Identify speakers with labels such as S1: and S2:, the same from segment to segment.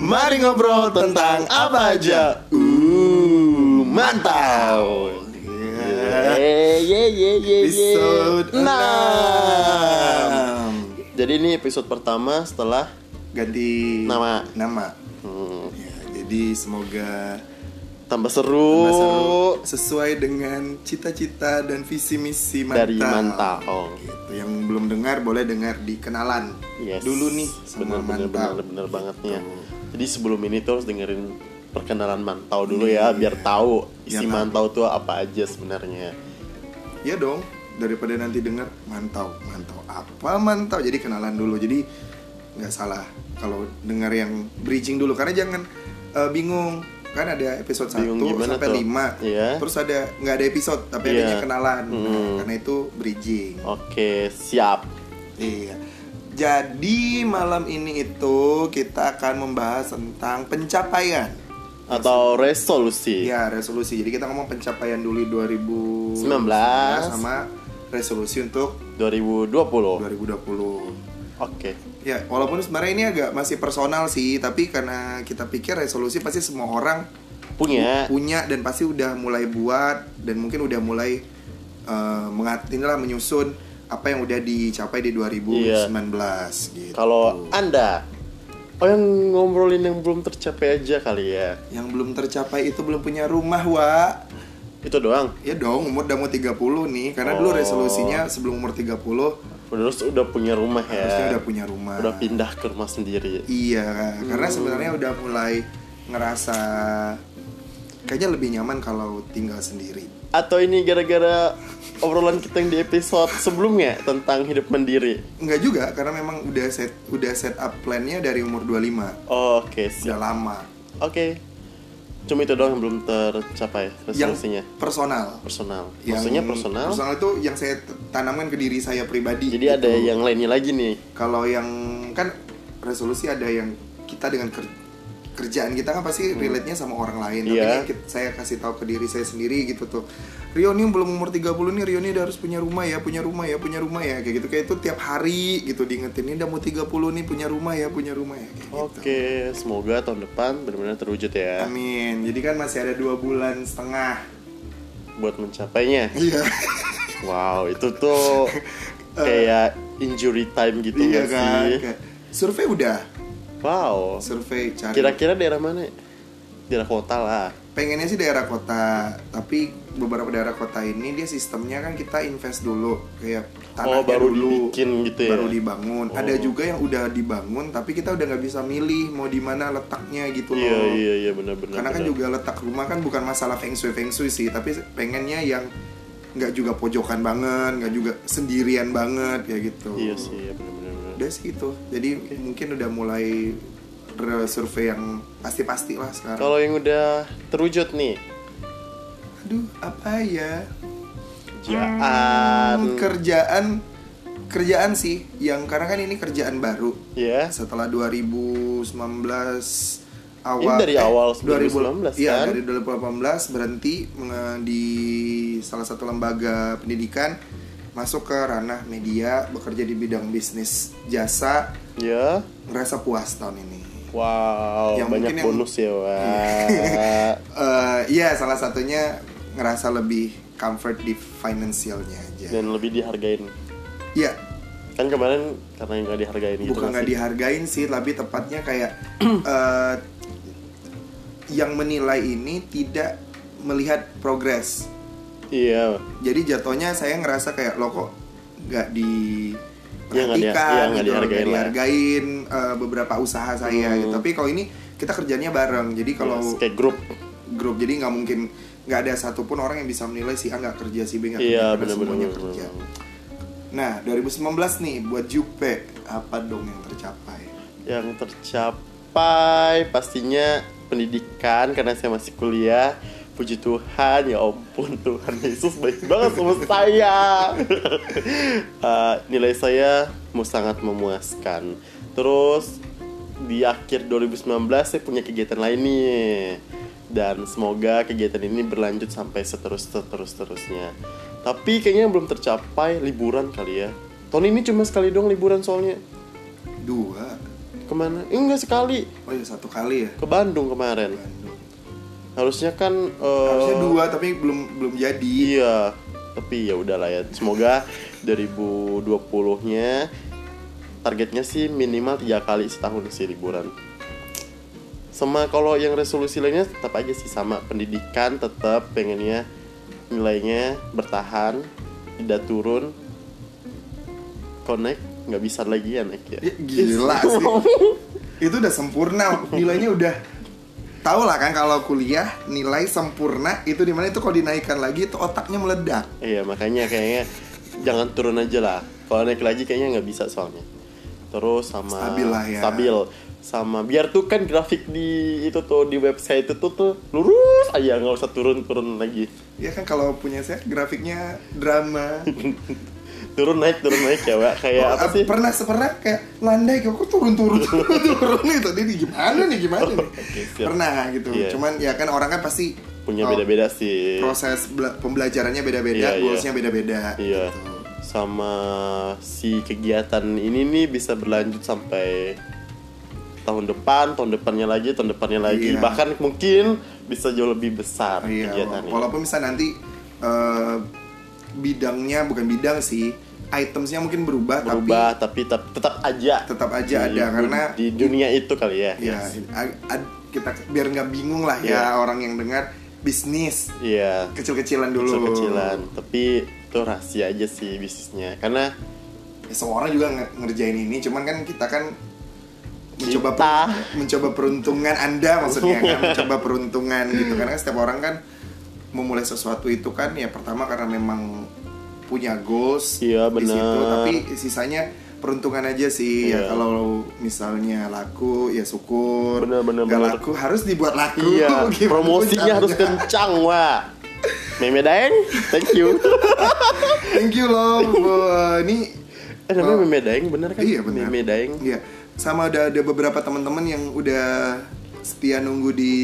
S1: Mari ngobrol tentang apa aja. Uh, mantau. Yeah.
S2: Eh, Ye ye ye ye Nah. ye.
S1: Episode
S2: Enam.
S1: 6.
S2: Jadi ini episode pertama setelah
S1: Ganti
S2: Nama.
S1: Nama.
S2: hmm, Oh.
S1: Ya, jadi semoga
S2: tambah seru,
S1: Mas Aru sesuai dengan cita-cita dan visi misi mantau.
S2: dari mantau.
S1: Gitu. Yang belum dengar boleh dengar di kenalan.
S2: Yes.
S1: Dulu nih sama
S2: bener bener
S1: mantau.
S2: bener bener banget nih ya. Jadi sebelum ini tuh harus dengerin perkenalan mantau dulu ya biar tahu isi
S1: Biar tahu.
S2: mantau tuh apa aja sebenarnya.
S1: Ya dong, daripada nanti dengar mantau, mantau apa mantau. Jadi kenalan dulu. Jadi nggak salah kalau dengar yang bridging dulu karena jangan eh, bingung. Kan ada episode 1
S2: Bingung gimana
S1: sampai
S2: tuh?
S1: 5.
S2: Iya.
S1: Terus ada nggak ada episode tapi
S2: Iya.
S1: adanya kenalan. Nah,
S2: Mm.
S1: karena itu bridging.
S2: Oke, siap.
S1: Iya. Jadi malam ini itu kita akan membahas tentang pencapaian.
S2: Atau resolusi.
S1: Ya, resolusi. Jadi kita ngomong pencapaian dulu 2019
S2: 19.
S1: sama resolusi untuk
S2: 2020.
S1: 2020.
S2: Oke.
S1: Ya, walaupun sebenarnya ini agak masih personal sih, tapi karena kita pikir resolusi pasti semua orang
S2: Punya
S1: punya dan pasti udah mulai buat dan mungkin udah mulai eh, mengat inilah menyusun apa yang udah dicapai di 2019
S2: Iya.
S1: gitu.
S2: Kalau Anda Oh yang ngobrolin yang belum tercapai aja kali ya
S1: yang belum tercapai itu belum punya rumah, Wa.
S2: Itu doang
S1: Ya dong, umur udah mau 30 nih, karena
S2: Oh.
S1: dulu resolusinya sebelum umur 30
S2: Terus udah punya rumah ya
S1: harusnya udah punya rumah.
S2: Udah pindah ke rumah sendiri
S1: Iya, karena
S2: Hmm.
S1: sebenarnya udah mulai ngerasa kayaknya lebih nyaman kalau tinggal sendiri.
S2: Atau ini gara-gara obrolan kita yang di episode sebelumnya Tentang hidup mandiri
S1: Enggak juga, karena memang udah set udah set up plan-nya dari umur 25.
S2: Oke siap
S1: Udah lama.
S2: Oke Cuma itu doang yang belum tercapai resolusinya
S1: Yang personal.
S2: Personal
S1: Yang
S2: Maksudnya personal
S1: Personal itu yang saya t- tanamkan ke diri saya pribadi.
S2: Jadi ada
S1: gitu.
S2: yang lainnya lagi nih
S1: kalau yang kan resolusi ada yang kita dengan ker- kerjaan kita kan pasti relate-nya sama orang lain. Tapi
S2: Hmm. Iya.
S1: ini kit- saya kasih tahu ke diri saya sendiri gitu tuh. Rio nih belum umur 30 nih, Rio nih udah harus punya rumah ya, punya rumah ya, punya rumah ya. Kayak gitu kayak itu tiap hari gitu diingetin ini udah mau 30 nih punya rumah ya, punya rumah ya. Kayak gitu.
S2: Oke Semoga tahun depan benar-benar terwujud ya
S1: Amin. Jadi kan masih ada dua bulan setengah.
S2: Buat mencapainya
S1: Iya.
S2: Wow, itu tuh kayak injury time gitu
S1: iya
S2: nggak
S1: kan.
S2: sih?
S1: Kayak- Survei udah.
S2: Wow.
S1: Survei cari
S2: Kira-kira daerah mana? Daerah kota lah.
S1: pengennya sih daerah kota tapi beberapa daerah kota ini dia sistemnya kan kita invest dulu kayak tanahnya
S2: Oh, baru
S1: dulu
S2: dibikin gitu ya?
S1: baru dibangun
S2: Oh.
S1: ada juga yang udah dibangun tapi kita udah nggak bisa milih mau di mana letaknya gitu loh
S2: Iya, iya, iya benar-benar.
S1: karena kan
S2: benar.
S1: juga letak rumah kan bukan masalah feng shui feng shui sih tapi pengennya yang nggak juga pojokan banget nggak juga sendirian banget ya gitu
S2: Iya sih, iya benar-benar. benar.
S1: udah sih itu jadi mungkin udah mulai re- survei yang pasti-pasti lah sekarang
S2: Kalau yang udah terwujud nih,
S1: aduh apa ya Hmm,
S2: kerjaan,
S1: kerjaan kerjaan sih yang karena kan ini kerjaan baru
S2: ya.
S1: setelah 2019 awal
S2: Ini dari awal
S1: 2000
S2: 2019
S1: iya,
S2: kan?
S1: dari 2018 berhenti menge- di salah satu lembaga pendidikan masuk ke ranah media bekerja di bidang bisnis jasa
S2: Ya.
S1: ngerasa puas tahun ini
S2: Wow,
S1: Yang mungkin
S2: banyak
S1: yang- Iya.
S2: bonus ya, Wak.
S1: Eh, iya salah satunya ngerasa lebih comfort di finansialnya aja
S2: Dan lebih dihargain.
S1: iya
S2: Kan kemarin karena nggak dihargain gitu.
S1: bukan
S2: nggak
S1: nggak
S2: sih?
S1: dihargain sih tapi tepatnya kayak eh, yang menilai ini tidak melihat progres
S2: Iya.
S1: jadi jatuhnya saya ngerasa kayak lo kok nggak di
S2: Iya, nggak dia- iya, nggak
S1: gitu,
S2: dihargain
S1: nggak
S2: lah.
S1: dihargain, eh, beberapa usaha saya
S2: Hmm.
S1: gitu. tapi kalau ini kita kerjanya bareng jadi kalau
S2: Yes, kayak grup.
S1: grup jadi nggak mungkin nggak ada satupun orang yang bisa menilai si A nggak kerja si B nggak kerja
S2: Iya,
S1: ya, karena semuanya
S2: benar-benar.
S1: kerja nah 2019 nih buat Jupe apa dong yang tercapai
S2: yang tercapai pastinya pendidikan karena saya masih kuliah puji Tuhan ya ampun Tuhan Yesus baik banget sama saya Eh, nilai saya mu sangat memuaskan terus di akhir 2019 saya punya kegiatan lain nih dan semoga kegiatan ini berlanjut sampai seterus seterus terusnya tapi kayaknya yang belum tercapai liburan kali ya tahun ini cuma sekali doang liburan soalnya
S1: dua
S2: Kemana? Eh, enggak sekali
S1: Oh iya satu kali ya.
S2: ke Bandung kemarin.
S1: Bandung.
S2: Harusnya kan eh,
S1: Harusnya dua tapi belum belum jadi.
S2: Iya, tapi ya udahlah ya. Semoga 2020-nya targetnya sih minimal tiga kali setahun sih liburan. Sama kalau yang resolusi lainnya tetap aja sih sama pendidikan tetap pengennya nilainya bertahan tidak turun connect nggak bisa lagi ya naik ya
S1: Ya, gila sih. Itu udah sempurna, nilainya udah tahu lah kan kalau kuliah nilai sempurna itu di mana itu kalau dinaikkan lagi itu otaknya meledak.
S2: Iya makanya kayaknya jangan turun aja lah. Kalau naik lagi kayaknya nggak bisa soalnya. Terus sama
S1: Stabil lah ya.
S2: stabil. sama biar tuh kan grafik di itu tuh di website itu tuh, tuh lurus aja nggak usah turun turun lagi
S1: Ya kan kalau punya saya grafiknya drama.
S2: turun naik turun naik ya Wak. kayak
S1: Oh,
S2: apa
S1: ah,
S2: sih
S1: Pernah pernah kayak landai kayak kok turun turun turun turun nih tadi nih, gimana nih gimana nih.
S2: siap.
S1: Pernah gitu.
S2: Iya.
S1: Cuman ya kan orang kan pasti
S2: punya
S1: oh,
S2: beda beda sih
S1: proses bela- pembelajarannya beda-beda,
S2: Iya, iya.
S1: goalsnya beda-beda.
S2: iya
S1: gitu.
S2: sama si kegiatan ini nih bisa berlanjut sampai tahun depan tahun depannya lagi tahun depannya lagi
S1: Iya.
S2: bahkan mungkin bisa jauh lebih besar
S1: Iya,
S2: kegiatannya
S1: walaupun misalnya nanti eh, bidangnya bukan bidang sih, itemsnya mungkin berubah,
S2: berubah tapi, tetap tetap aja
S1: tapi tetap aja
S2: Di-
S1: ada karena
S2: di dunia itu kali ya
S1: ya
S2: Yes.
S1: a- a- kita biar nggak bingung lah ya
S2: Iya.
S1: orang yang dengar bisnis
S2: iya
S1: kecil-kecilan dulu.
S2: kecil-kecilan tapi itu rahasia aja sih bisnisnya karena
S1: Ya, semua orang juga nge- ngerjain ini, cuman kan kita kan mencoba
S2: Kita.
S1: per- mencoba peruntungan Anda maksudnya kan mencoba peruntungan gitu karena setiap orang kan memulai sesuatu itu kan ya pertama karena memang punya goals
S2: Iya,
S1: di situ
S2: benar.
S1: tapi sisanya peruntungan aja sih
S2: Iya.
S1: ya kalau misalnya laku ya syukur
S2: Benar, benar,
S1: Nggak
S2: benar.
S1: laku harus dibuat laku
S2: iya
S1: Gimana pun caranya.
S2: promosinya harus kencang wah Meme Daeng, thank you.
S1: thank you loh Bu. ini
S2: eh, namanya Meme Daeng bener kan?
S1: Oh. Iya benar.
S2: Meme Daeng.
S1: Iya. Sama ada ada beberapa teman-teman yang udah setia nunggu di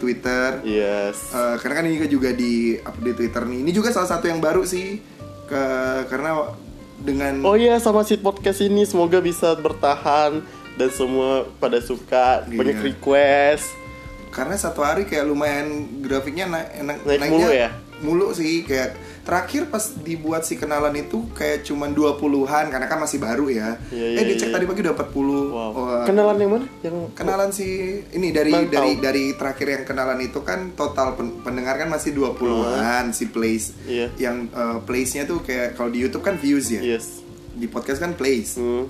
S1: Twitter.
S2: Yes.
S1: Eh, karena kan ini juga di update Twitter nih. Ini juga salah satu yang baru sih. Ke karena dengan
S2: Oh iya sama si podcast ini semoga bisa bertahan dan semua pada suka, banyak
S1: Iya.
S2: request.
S1: karena satu hari kayak lumayan grafiknya na enak
S2: Naik
S1: naiknya
S2: mulu ya?
S1: mulu sih kayak terakhir pas dibuat si kenalan itu kayak cuman 20-an karena kan masih baru ya.
S2: Iya, iya,
S1: eh dicek
S2: iya.
S1: tadi pagi udah Oh, 40.
S2: Wow.
S1: Wah.
S2: Kenalan yang mana? Yang
S1: kenalan sih ini dari
S2: Mantau.
S1: dari dari terakhir yang kenalan itu kan total pen- pendengar kan masih 20-an si plays
S2: Iya.
S1: yang eh, plays-nya tuh kayak kalau di YouTube kan views ya.
S2: Yes.
S1: Di podcast kan plays.
S2: Hmm.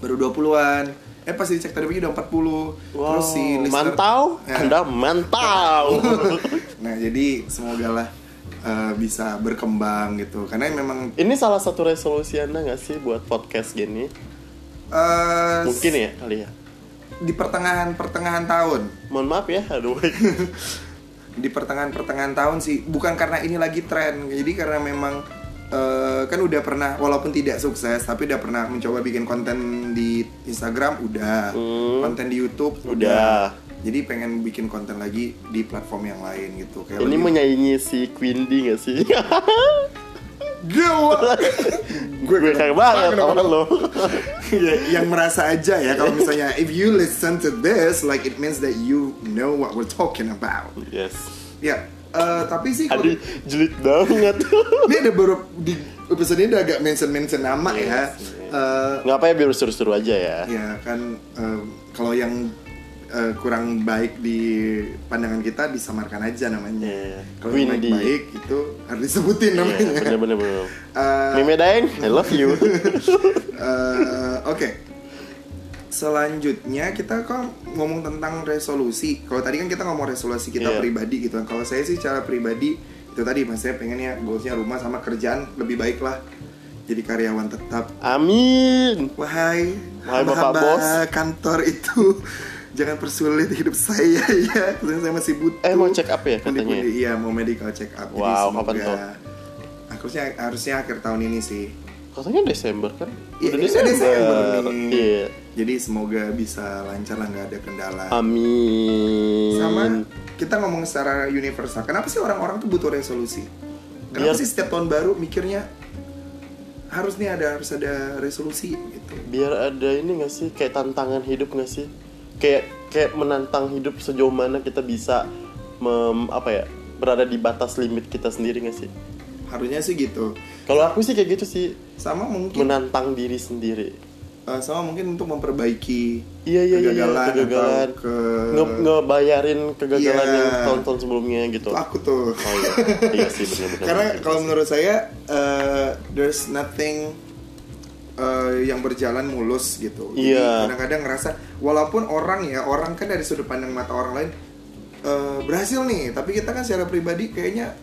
S1: Baru 20-an. Eh pas dicek tadi pagi udah 40.
S2: Wow,
S1: Terus si listener-
S2: mantau,
S1: Ya.
S2: Anda mantau.
S1: Nah, jadi semoga lah eh, bisa berkembang gitu. Karena memang
S2: Ini salah satu resolusi Anda nggak sih buat podcast gini?
S1: eh,
S2: Mungkin ya kali ya.
S1: di pertengahan-pertengahan tahun
S2: Mohon maaf ya, aduh.
S1: di pertengahan pertengahan tahun sih bukan karena ini lagi tren jadi karena memang eh, kan udah pernah walaupun tidak sukses tapi udah pernah mencoba bikin konten di Instagram udah
S2: Hmm.
S1: konten di YouTube
S2: Udah.
S1: jadi pengen bikin konten lagi di platform yang lain gitu kayak
S2: Ini
S1: lebih-
S2: menyaingi si Quindy nggak sih?
S1: Gila.
S2: Gue kagak banget
S1: Kenapa Iya.
S2: sama lo.
S1: yang merasa aja ya kalau misalnya if you listen to this like it means that you know what we're talking about
S2: Yes.
S1: ya eh, tapi sih kalau-
S2: Aduh, jelit banget.
S1: ini ada baru di episode ini udah agak mention mention nama ya
S2: Yes, yes.
S1: Eh,
S2: Nggak apa ya, biar seru-seru aja ya.
S1: ya kan eh, kalau yang eh, kurang baik di pandangan kita disamarkan aja namanya
S2: Iya.
S1: kalau yang
S2: Windy.
S1: baik baik itu harus disebutin namanya
S2: Iya, bener-bener. bener.
S1: Eh,
S2: Meme Daeng, I love you.
S1: eh, oke selanjutnya kita kan ngomong tentang resolusi kalau tadi kan kita ngomong resolusi kita
S2: Iya.
S1: pribadi gitu kan kalau saya sih cara pribadi itu tadi mas saya pengennya goalsnya rumah sama kerjaan lebih baik lah jadi karyawan tetap
S2: Amin.
S1: Wahai,
S2: Wahai
S1: hamba-hamba
S2: Bapak Bos.
S1: kantor itu jangan persulit hidup saya ya. Karena saya masih butuh.
S2: Eh, mau check up ya katanya?
S1: pundi-pundi. Iya, mau medical check up. Jadi
S2: Wow,
S1: semoga-
S2: kapan tuh?
S1: Harusnya harusnya akhir tahun ini sih.
S2: Katanya Desember kan?
S1: Iya,
S2: Udah
S1: ini
S2: Desember.
S1: nih.
S2: Iya.
S1: Jadi semoga bisa lancar lah nggak ada kendala.
S2: Amin.
S1: Sama kita ngomong secara universal. Kenapa sih orang-orang tuh butuh resolusi? Kenapa
S2: Biar-
S1: sih setiap tahun baru mikirnya harus nih ada harus ada resolusi gitu
S2: biar ada ini gak sih kayak tantangan hidup gak sih kayak kayak menantang hidup sejauh mana kita bisa mem, apa ya berada di batas limit kita sendiri gak sih
S1: harusnya sih gitu
S2: kalau aku sih kayak gitu sih
S1: sama mungkin
S2: menantang diri sendiri
S1: eh, sama mungkin untuk memperbaiki
S2: iya iya iya, iya
S1: kegagalan, atau
S2: kegagalan
S1: ke
S2: Nge- ngebayarin kegagalan
S1: Eh. Iya.
S2: yang tahun-tahun sebelumnya gitu
S1: Itu aku tuh
S2: oh iya iya sih benar-benar
S1: Karena kalau menurut saya eh, there's nothing eh, yang berjalan mulus gitu. Jadi
S2: Iya.
S1: Kadang-kadang ngerasa walaupun orang ya orang kan dari sudut pandang mata orang lain eh, berhasil nih, tapi kita kan secara pribadi kayaknya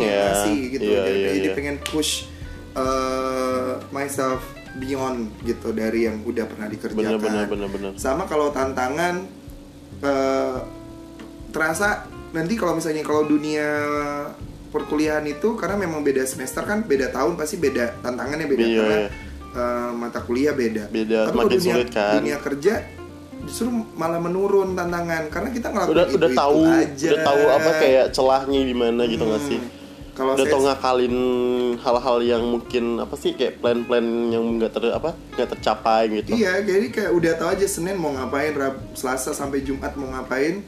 S1: kurang,
S2: ya.
S1: masih gitu.
S2: Iya,
S1: jadi
S2: iya,
S1: jadi
S2: iya.
S1: pengen push eh, myself beyond gitu dari yang udah pernah dikerjakan.
S2: bener bener bener bener
S1: Sama kalau tantangan eh, terasa nanti kalau misalnya kalau dunia perkuliahan itu karena memang beda semester kan beda tahun pasti beda tantangannya beda
S2: Iya,
S1: karena
S2: iya.
S1: eh, mata kuliah beda.
S2: Beda,
S1: Tapi kalau
S2: makin
S1: dunia,
S2: sulit kan.
S1: Dunia kerja justru malah menurun tantangan karena kita ngelakuin
S2: udah
S1: gitu, itu,
S2: udah tahu
S1: aja.
S2: udah tahu apa kayak celahnya di mana gitu nggak
S1: Hmm.
S2: sih
S1: Kalau
S2: udah
S1: saya
S2: tau ngakalin hal-hal yang mungkin apa sih kayak plan-plan yang nggak ter apa nggak tercapai gitu
S1: Iya, jadi kayak udah tahu aja Senin mau ngapain, Rab, Selasa sampai Jumat mau ngapain.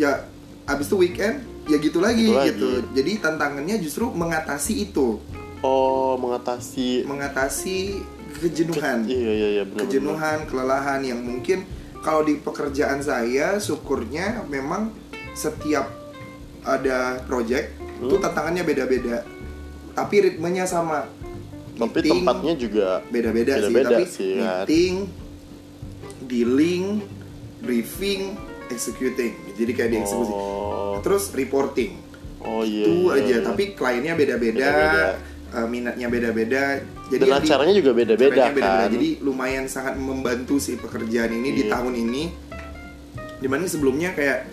S1: Ya abis itu weekend ya gitu lagi
S2: Gitu lagi.
S1: gitu. Jadi tantangannya justru mengatasi itu,
S2: oh mengatasi
S1: mengatasi kejenuhan.
S2: iya iya iya benar benar
S1: kejenuhan, kelelahan yang mungkin kalau di pekerjaan saya syukurnya memang setiap ada project
S2: Hmm.
S1: itu tantangannya beda-beda. Tapi ritmenya sama.
S2: tapi
S1: Meeting,
S2: tempatnya juga
S1: beda-beda sih
S2: Beda-beda
S1: tapi
S2: sih, kan.
S1: meeting dealing briefing executing jadi kayak dieksekusi
S2: oh
S1: terus reporting
S2: oh iya
S1: itu
S2: iya,
S1: aja
S2: iya.
S1: tapi kliennya beda-beda
S2: Beda-beda.
S1: eh, minatnya beda-beda jadi
S2: dan
S1: yang di-
S2: acaranya juga beda-beda
S1: caranya
S2: kan
S1: beda-beda. jadi lumayan sangat membantu sih pekerjaan ini di
S2: Iya.
S1: tahun ini dibanding sebelumnya kayak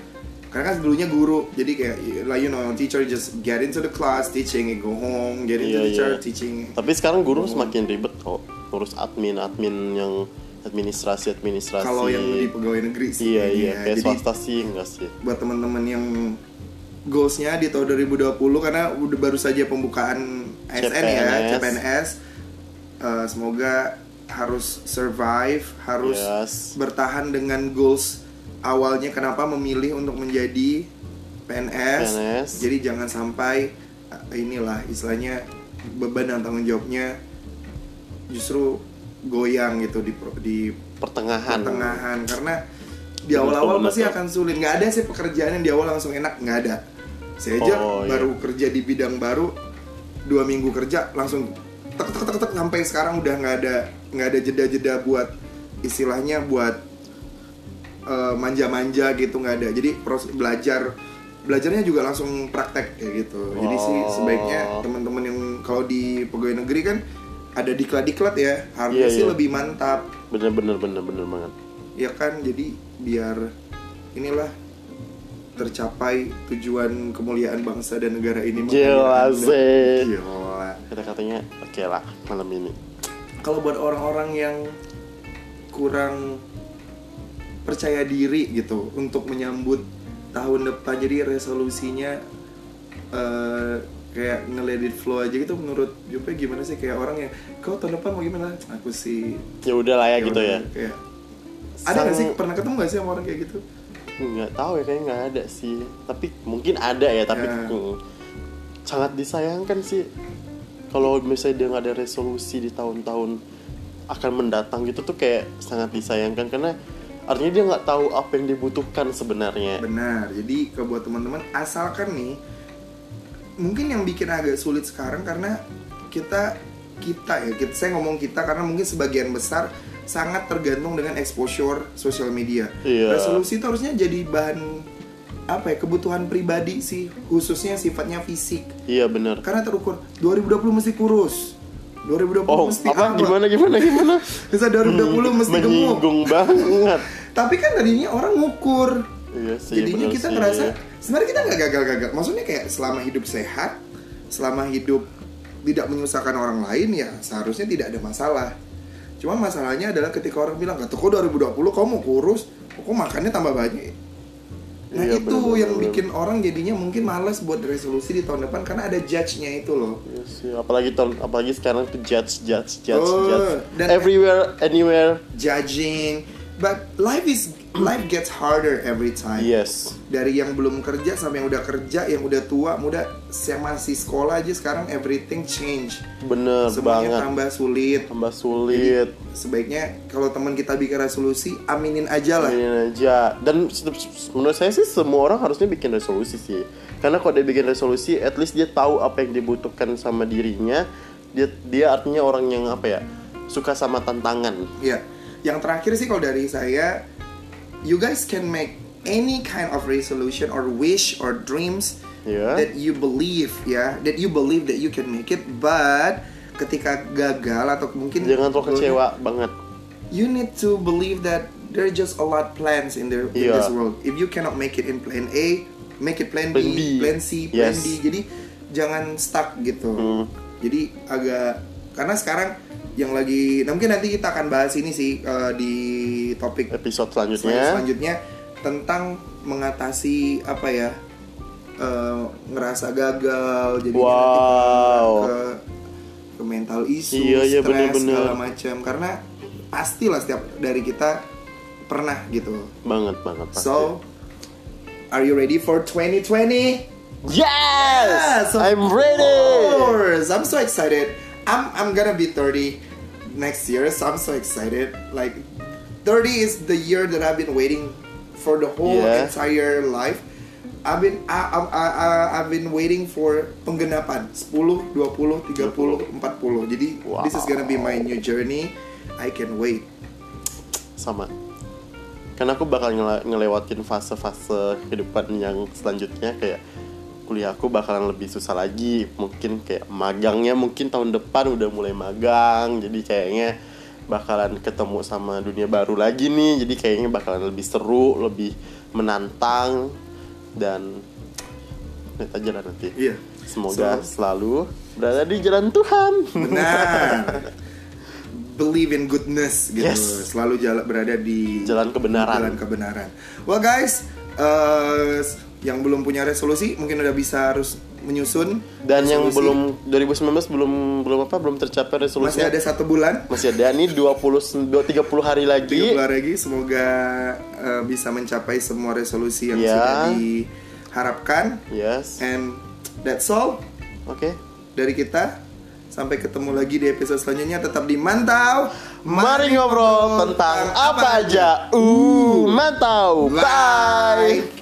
S1: karena kan sebelumnya guru jadi kayak like you know teacher just get into the class teaching and go home get into
S2: Iya,
S1: the church
S2: iya.
S1: teaching
S2: tapi sekarang
S1: Oh.
S2: guru semakin ribet kok ngurus admin admin yang administrasi administrasi
S1: kalau yang di pegawai negeri sih
S2: iya
S1: kayaknya
S2: iya
S1: ya.
S2: kayak
S1: jadi
S2: swasta sih enggak sih
S1: buat teman-teman yang goalsnya di tahun 2020 karena udah baru saja pembukaan ASN ya
S2: CPNS.
S1: CPNS Eh, semoga harus survive harus
S2: Yes.
S1: bertahan dengan goals awalnya kenapa memilih untuk menjadi PNS,
S2: PNS.
S1: jadi jangan sampai eh, inilah istilahnya beban dan tanggung jawabnya justru goyang gitu di pro- di
S2: pertengahan
S1: pertengahan karena di awal-awal
S2: Betul,
S1: pasti
S2: betul.
S1: akan sulit nggak ada sih pekerjaan yang di awal langsung enak nggak ada saya aja
S2: Oh, iya.
S1: baru kerja di bidang baru dua minggu kerja langsung tek tek tek tek sampai sekarang udah nggak ada nggak ada jeda-jeda buat istilahnya buat eh, manja-manja gitu nggak ada jadi proses belajar belajarnya juga langsung praktek kayak gitu jadi sih
S2: Oh.
S1: sebaiknya teman-teman yang kalau di pegawai negeri kan ada diklat-diklat ya harusnya
S2: Iya,
S1: sih
S2: iya.
S1: lebih mantap
S2: bener bener bener bener banget
S1: ya kan jadi biar inilah tercapai tujuan kemuliaan bangsa dan negara ini
S2: Gila,
S1: Makanya Anda-
S2: Zek.
S1: gila
S2: kata katanya oke lah malam ini
S1: kalau buat orang-orang yang kurang percaya diri gitu untuk menyambut tahun depan jadi resolusinya eh, kayak nge-let it flow aja gitu menurut Jupe gimana sih kayak orang yang kau tahun depan mau gimana aku sih
S2: ya udah lah ya gitu ya
S1: kayak ada nggak sih pernah ketemu gak sih sama orang kayak gitu
S2: nggak tahu ya kayaknya nggak ada sih tapi mungkin ada ya tapi
S1: Ya.
S2: mm, sangat disayangkan sih kalau misalnya dia nggak ada resolusi di tahun-tahun akan mendatang gitu tuh kayak sangat disayangkan karena artinya dia nggak tahu apa yang dibutuhkan sebenarnya
S1: Benar. Jadi ke buat teman-teman asalkan nih mungkin yang bikin agak sulit sekarang karena kita kita ya kita saya ngomong kita karena mungkin sebagian besar sangat tergantung dengan exposure sosial media.
S2: Iya.
S1: Resolusi itu harusnya jadi bahan apa ya kebutuhan pribadi sih khususnya sifatnya fisik
S2: iya bener
S1: karena terukur 2020 mesti kurus 2020
S2: oh
S1: mesti
S2: apa
S1: apa?
S2: gimana Hmm, gimana gimana
S1: Bisa 2020 mesti gemuk
S2: menyinggung banget
S1: tapi kan tadinya orang ngukur
S2: iya sih
S1: jadinya
S2: bener
S1: kita
S2: sih. iya.
S1: ngerasa sebenarnya kita nggak gagal-gagal maksudnya kayak selama hidup sehat selama hidup tidak menyusahkan orang lain ya seharusnya tidak ada masalah cuma masalahnya adalah ketika orang bilang kata kok 2020 kamu mau kurus kok makannya tambah banyak Nah itu
S2: Iya, bener-bener.
S1: yang bikin orang jadinya mungkin males buat resolusi di tahun depan karena ada judge-nya itu loh.
S2: Iya sih, apalagi tahun apalagi sekarang tuh judge judge judge
S1: Oh,
S2: judge
S1: dan-
S2: everywhere anywhere
S1: Judging. But life is life gets harder every time.
S2: yes
S1: Dari yang belum kerja sampai yang udah kerja, yang udah tua, muda, saya masih sekolah aja sekarang everything change.
S2: bener
S1: Semuanya
S2: banget
S1: tambah sulit.
S2: tambah sulit
S1: Sebaiknya kalau teman kita bikin resolusi, aminin aja lah.
S2: Ini aja dan se- se- menurut saya sih semua orang harusnya bikin resolusi sih karena kalau dia bikin resolusi at least dia tahu apa yang dibutuhkan sama dirinya dia dia artinya orang yang apa ya suka sama tantangan
S1: Ya, yang terakhir sih kalau dari saya, you guys can make any kind of resolution or wish or dreams
S2: Ya.
S1: that you believe ya, that you believe that you can make it, but ketika gagal atau mungkin
S2: jangan terlalu kecewa banget
S1: You need to believe that there are just a lot plans in the in
S2: Iya.
S1: this world. If you cannot make it in plan A, make it plan,
S2: Plan
S1: B,
S2: B.
S1: plan C, plan
S2: Yes.
S1: D. Jadi jangan stuck gitu.
S2: Hmm.
S1: Jadi agak karena sekarang yang lagi, nah mungkin nanti kita akan bahas ini sih eh, di topik
S2: episode
S1: selanjutnya.
S2: selanjutnya
S1: tentang mengatasi apa ya eh, ngerasa gagal jadi
S2: Wow.
S1: ke, ke mental issue
S2: Oh. Iya, iya,
S1: stres
S2: bener-bener.
S1: segala macam karena pastilah setiap dari kita pernah gitu
S2: banget banget pasti.
S1: so are you ready for 2020
S2: yes,
S1: of
S2: I'm ready
S1: course. I'm so excited. I'm I'm gonna be 30 next year, so I'm so excited. Like 30 is the year that I've been waiting for the whole
S2: Yeah.
S1: entire life. I've been I, I, I, I- I've been waiting for penggenapan 10, 20, 30, 40. Jadi this is gonna be my new journey. I can wait.
S2: sama karena aku bakal ngele- ngelewatin fase-fase kehidupan yang selanjutnya kayak kuliah aku bakalan lebih susah lagi mungkin kayak magangnya mungkin tahun depan udah mulai magang jadi kayaknya bakalan ketemu sama dunia baru lagi nih jadi kayaknya bakalan lebih seru lebih menantang dan lihat aja lah nanti
S1: Iya.
S2: semoga
S1: So-
S2: selalu berada di jalan Tuhan
S1: Benar. Believe in goodness gitu.
S2: Yes.
S1: Selalu jala- berada di
S2: Jalan kebenaran.
S1: Jalan kebenaran. Well guys, eh, s- yang belum punya resolusi mungkin udah bisa harus menyusun.
S2: dan yang
S1: resolusi.
S2: belum 2019 belum belum apa belum
S1: masih
S2: tercapai resolusinya
S1: ada satu bulan.
S2: masih ada nih 20 dua- 30 hari lagi.
S1: Tiga bulan lagi, semoga eh, bisa mencapai semua resolusi yang
S2: Iya.
S1: sudah diharapkan.
S2: Yes.
S1: And that's all
S2: Oke.
S1: dari kita. Sampai ketemu lagi di episode selanjutnya. Tetap dimantau.
S2: Mari ngobrol tentang apa aja. Uh, mantau. Bye.
S1: Bye.